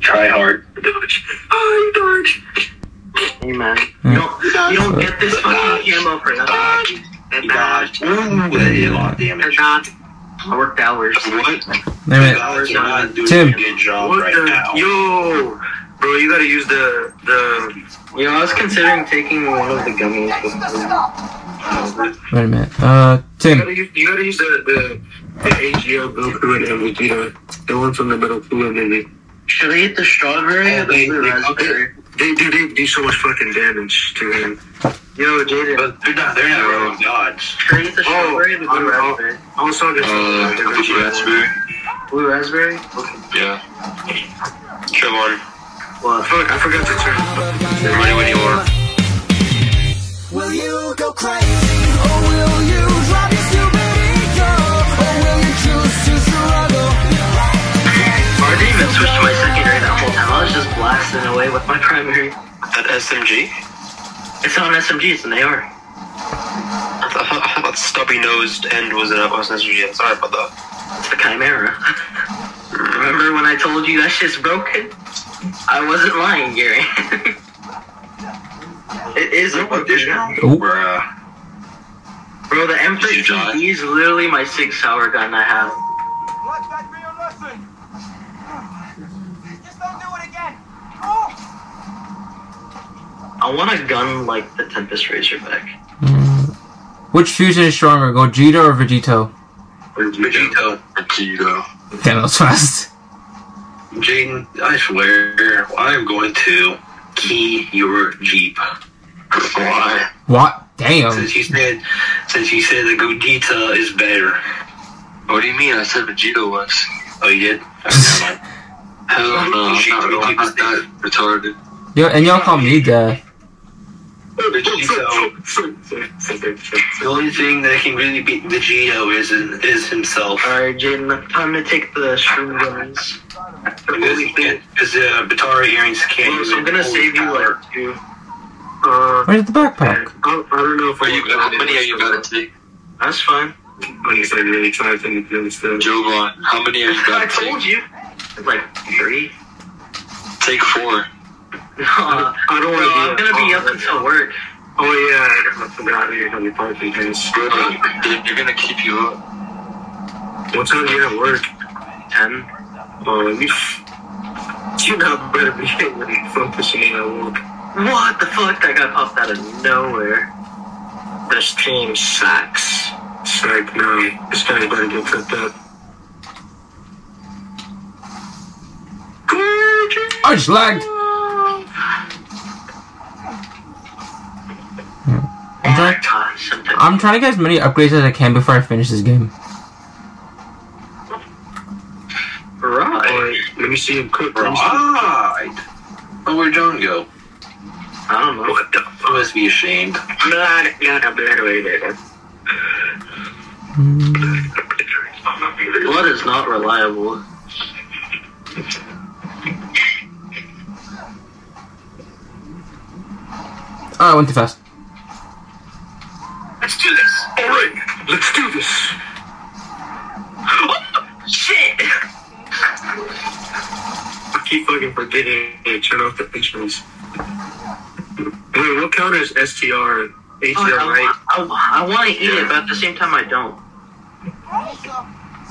try hard. I don't. Hey, man. You don't, you don't Get this fucking ammo for nothing. And dodge. Mm. one way a lot of And damage. dodge. I worked hours. What? Wait a minute. Guys, you're not doing Tim. a good job What right the- now. Yo, bro, you gotta use the the. Yo, I was considering taking one of the gummies. Before. Wait a minute. Uh, You Tim. gotta use, you gotta use the the, the AGO go through and everything. The, the one from the middle fluid maybe. Should I eat the strawberry They, or the they, blue raspberry? they, do they do so much fucking damage to him. Yo, Jaden. But they're not, they're not rolling dodge. Should I eat the strawberry or the Oh, blue oh. raspberry? I was talking to Uh, the the raspberry. Blue raspberry? Yeah. Trevon, Well, Fuck, I forgot to turn. remind me when you are. Will you go crazy or will you drop your stupid ego or will you choose to struggle? I didn't even switch to my secondary that whole time. I was just blasting away with my primary. That SMG? It's not an SMG, it's an AR. I thought, I thought stubby nosed end was an, was an SMG. I'm sorry about that. It's a chimera. Remember when I told you that shit's broken? I wasn't lying, Gary. it is broken. Oh, uh, Bruh. Bro, the M13 you die? D is literally my six hour gun I have. Let that be a lesson. Just don't do it again. Oh, I want a gun like the Tempest Razorback. which fusion is stronger, Gogeta or Vegito? Vegito. Vegito. Damn, that was fast. Jaden, I swear, I am going to key your Jeep. Why? What? Damn. Since you said, since you said the Gogeta is better. What do you mean? I said Vegito was. Oh, you did? Oh, never mind. Hell no, I'm not, no, I'm not that retarded. Yo, and y'all call me guy. Vegito. The only thing that can really beat Vegito is is himself. Alright, Jaden, time to take the string guns. Because he can't- because, uh, Batari earrings can't. Bro, so even I'm gonna hold save you power. like two. Uh, Where's the backpack? I, I don't know if Are you, how many are you gonna take? That's fine. Like I said, really trying to do this stuff. Jovan, how many are you I gonna told take? you. Like three. Take four. Nah, I don't bro, wanna I'm be a- gonna be up until work. Oh yeah, I forgot you had the parking pass. Bro, they're, they're gonna keep you up. What time do you have work? Ten. Oh, you, you not better be getting focusing me at work. What the fuck? That got popped out of nowhere. This team sucks. It's like, no, this guy better get flipped up. I just lagged. I'm trying, Ah, sometimes. I'm trying to get as many upgrades as I can before I finish this game. Right. Alright, let me see him cook. Let me see- Right. Oh, where'd John go? I don't know. What the? I must be ashamed. Not, not a better way to Mm. Blood is not reliable. Oh, I went too fast. Let's do this. Alright, let's do this. Oh, Shit! I keep fucking forgetting to turn off the pictures. Wait, what counter is STR? Oh, I, ATR, right? want to eat it, but at the same time, I don't. also,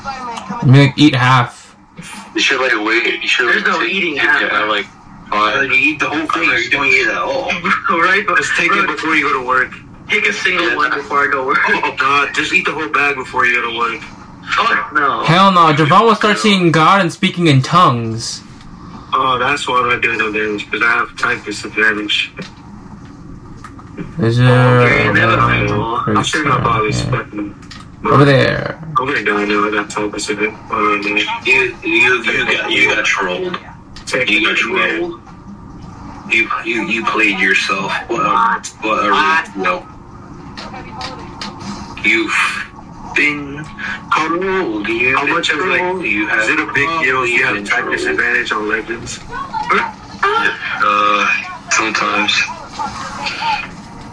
Spider-Man I'm coming. gonna like, eat half. You should like wait. You should There's like no take- eating take it that. at, like Uh, five. you eat the whole thing. Are you doing it at all? right? But Just take it before you go to work. take a single Yeah. one before I go work. Oh god, just eat the whole bag before you go to work. Fuck no. Hell no, Javon will start seeing God and speaking in tongues. Oh, that's why I'm not doing no damage, because I have typhus advantage. Is there Oh, uh, Okay, never mind. I'm sure my body's fucking. over there? I'm gonna die now, I got typhus of it. Oh, man. You you you got you got trolled. Take You got it. trolled. You you you played yourself. What a, what a real- no. You've been trolled. You How much of like, you have is it a big deal you have been typhus trolled. advantage on legends? Uh, sometimes.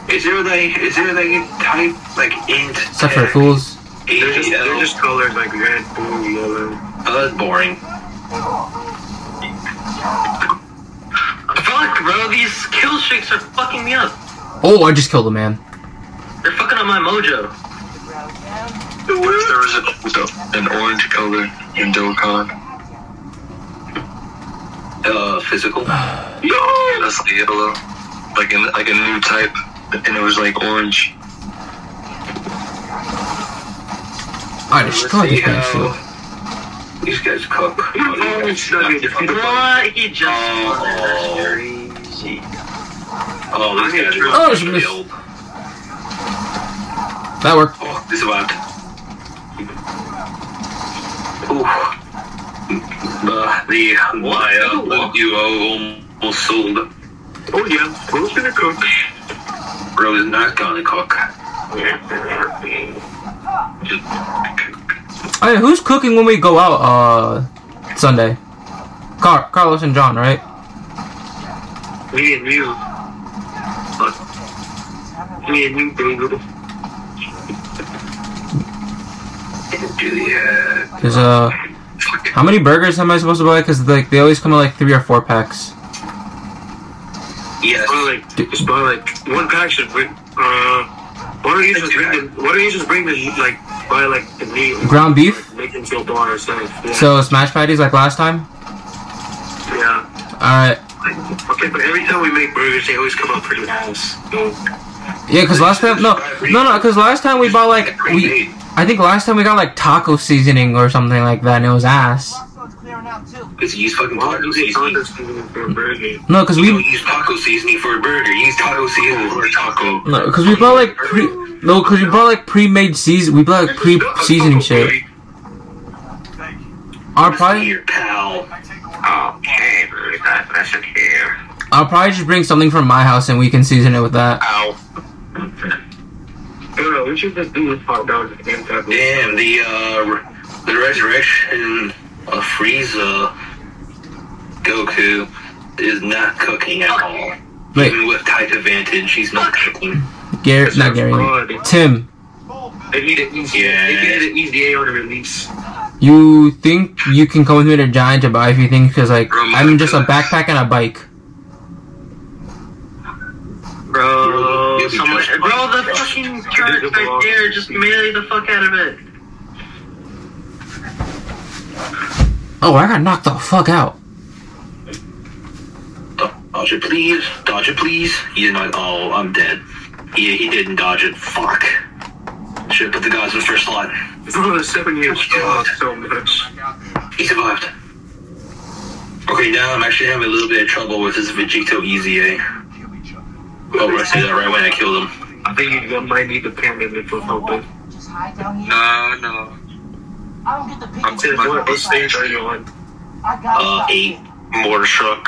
Is there like is there like a type like int Except for fools. They're just, they're ADL? just colored Oh, like red, blue, yellow. Uh, that's boring. Bro, these kill streaks are fucking me up. Oh, I just killed a man. They're fucking up my mojo. If there was a, an orange color in Dokkan. Uh, physical? no! That's the yellow. Like, in, like a new type. And it was like orange. I destroyed this man's shield. These guys cook. Oh, What? He just Oh. That's crazy. these guys Oh, it's are miss- killed. That worked. Oh, this survived. Ooh. Uh, the my uh, one duo almost sold. Oh yeah, who's gonna cook? Bro is not gonna cook. Just Hey, who's cooking when we go out uh Sunday? Car- Carlos and John, right? Me and you. Fuck. Me and you, Google. do the uh, Cause uh, fuck. how many burgers am I supposed to buy? Cause like they always come in like three or four packs. Yes. Buy like, just buy like one pack should bring. Uh, why don't you just bring the? Why don't you just bring the like buy like the meat? Ground beef. Make them feel bar yourself. Yeah. So smash patties like last time. yeah. All right. Okay, but every time we make burgers, they always come out pretty nice. Yeah, cause last time no, no, no, cause last time we bought like we. I think last time we got like taco seasoning or something like that, and it was ass. Rockstone's clearing out too. Because you use fucking Why taco do they seasoning. find us even for a burger? No, cause You don't we, use taco seasoning for a burger. You use taco seasoning for a taco. no, cause we bought like pre, no, cause we bought like pre-made season, we bought like pre-seasoning shit. Thank you. I'll probably, Here, pal. I take away. Okay, that, that's it here. I'll probably just bring something from my house and we can season it with that. No, no, we should just do this hot dog and taco. Damn the uh, re- the resurrection of Frieza, Goku is not cooking at all. Wait, Even with tight advantage, he's not cooking. Gary, not Gary, Fraud. Tim. They need an easy. They need an easy on the release. You think you can come with me to Giant to buy a few things? Cause like I'm just a backpack and a bike. Bro, You'll be someone, just- bro, the fucking turret right there, just melee the fuck out of it. Oh, I got knocked the fuck out. Uh, Dodge it, please. Dodge it, please. He's not. Oh, I'm dead. He he didn't dodge it. Fuck. Should put the guys in first slot. Bro, the seven years oh, so much. He survived. Okay, now I'm actually having a little bit of trouble with this Vegito EZA. Oh, I see that right when I killed him. I think you might need the pyramid for helping. Just hide down here. No, no. I don't get the picture. I'm taking my- What, what stage are you on? I got Uh, it. eight. Mortar truck.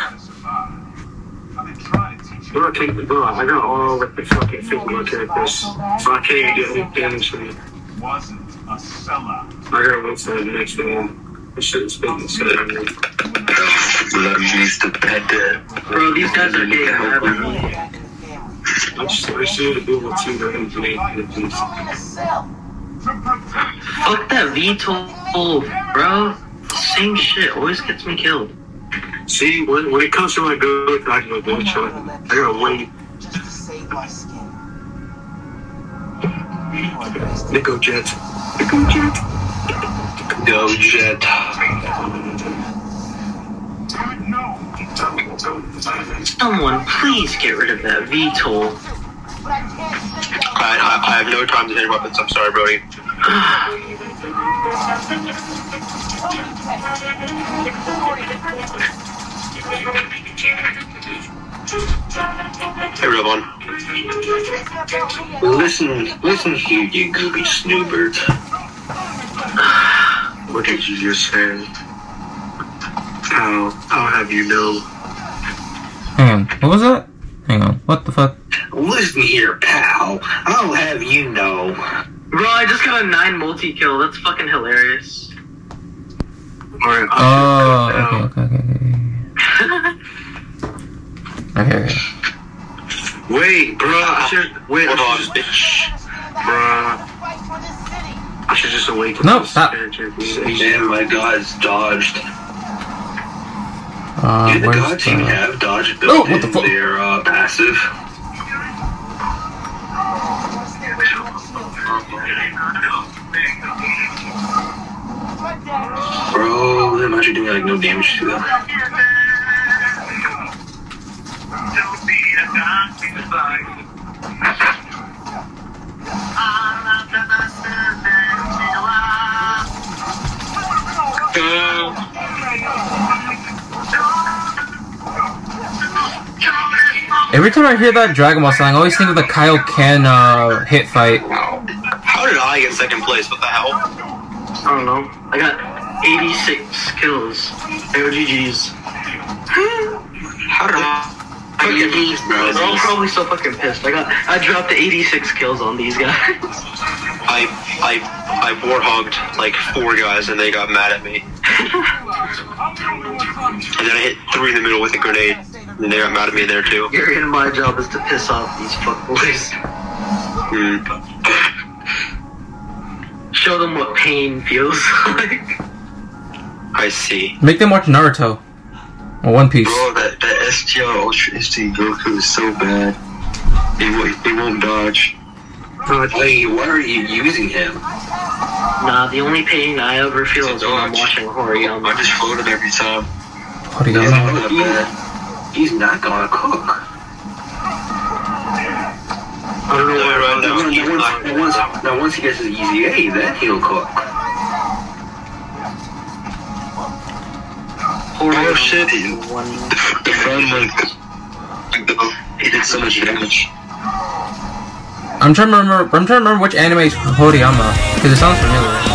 I've been trying to teach Bro, I can't, bro, I got all like the fucking 51 characters. So I can't even get any damage from you. Wasn't a sellout. I got one for the next one. This shit's been insane. Love needs to pet that. Bro, these guys are getting rabid. I just, I just need to do what you know and make the piece. I'm in a cell. To protect Fuck that VTOL, bro. Same shit always gets me killed. See, when, when it comes to my good, I can go shot. I gotta wait. just to save my skin. You are the best. Nico Jet. Nico Jet. Go Jet. Someone please get rid of that VTOL. But I can't say that. I, I, I have no time to hit weapons. I'm sorry, Brody. Hey, everyone. Listen, listen here, you goopy snoobert. What did you just say? How, I'll have you know. Hang on, what was that? Hang on, what the fuck? Listen here, pal. I'll have you know. Bro, I just got a 9 multi kill. That's fucking hilarious. Alright, Oh, okay, okay, okay, okay, okay. okay. Wait, bro. I should, wait, Hold I on, should, just, bitch. Bruh. Fight for this city. I should just awaken. No, this stop. character. Damn, my god's dodged. Uh, Did the where's dodge team the... have dodge built Oh, what the in fuck? their uh, passive? Bro, I'm actually doing like no damage to them. Every time I hear that Dragon Ball song, I always think of the Kaioken uh, hit fight. How did I get second place? What the hell? I don't know. I got 86 kills. OGGs. How did I? Fucking bees, bro. They're all probably so fucking pissed. I got, I dropped 86 kills on these guys. I I I warhogged like four guys and they got mad at me. And then I hit three in the middle with a grenade and they got mad at me there too. Your and my job is to piss off these fuckboys. Mm. Show them what pain feels like. I see. Make them watch Naruto. Or One Piece. Bro, that, that STR Ultra HD Goku is so bad. He won't, he won't dodge. Oh, Wait, why are you using him? Nah, the only pain I ever feel is when I'm watching I Horiyama. just floated every time. He's, Origami. not gonna, he's not gonna cook. I don't know No, where right Now, now, once, he's not- now, once, now once he gets his easy A, then he'll cook. Horiyama shit. is One. The friend like, he did so much damage. I'm trying to remember. I'm trying to remember which anime is Horiyama because it sounds familiar.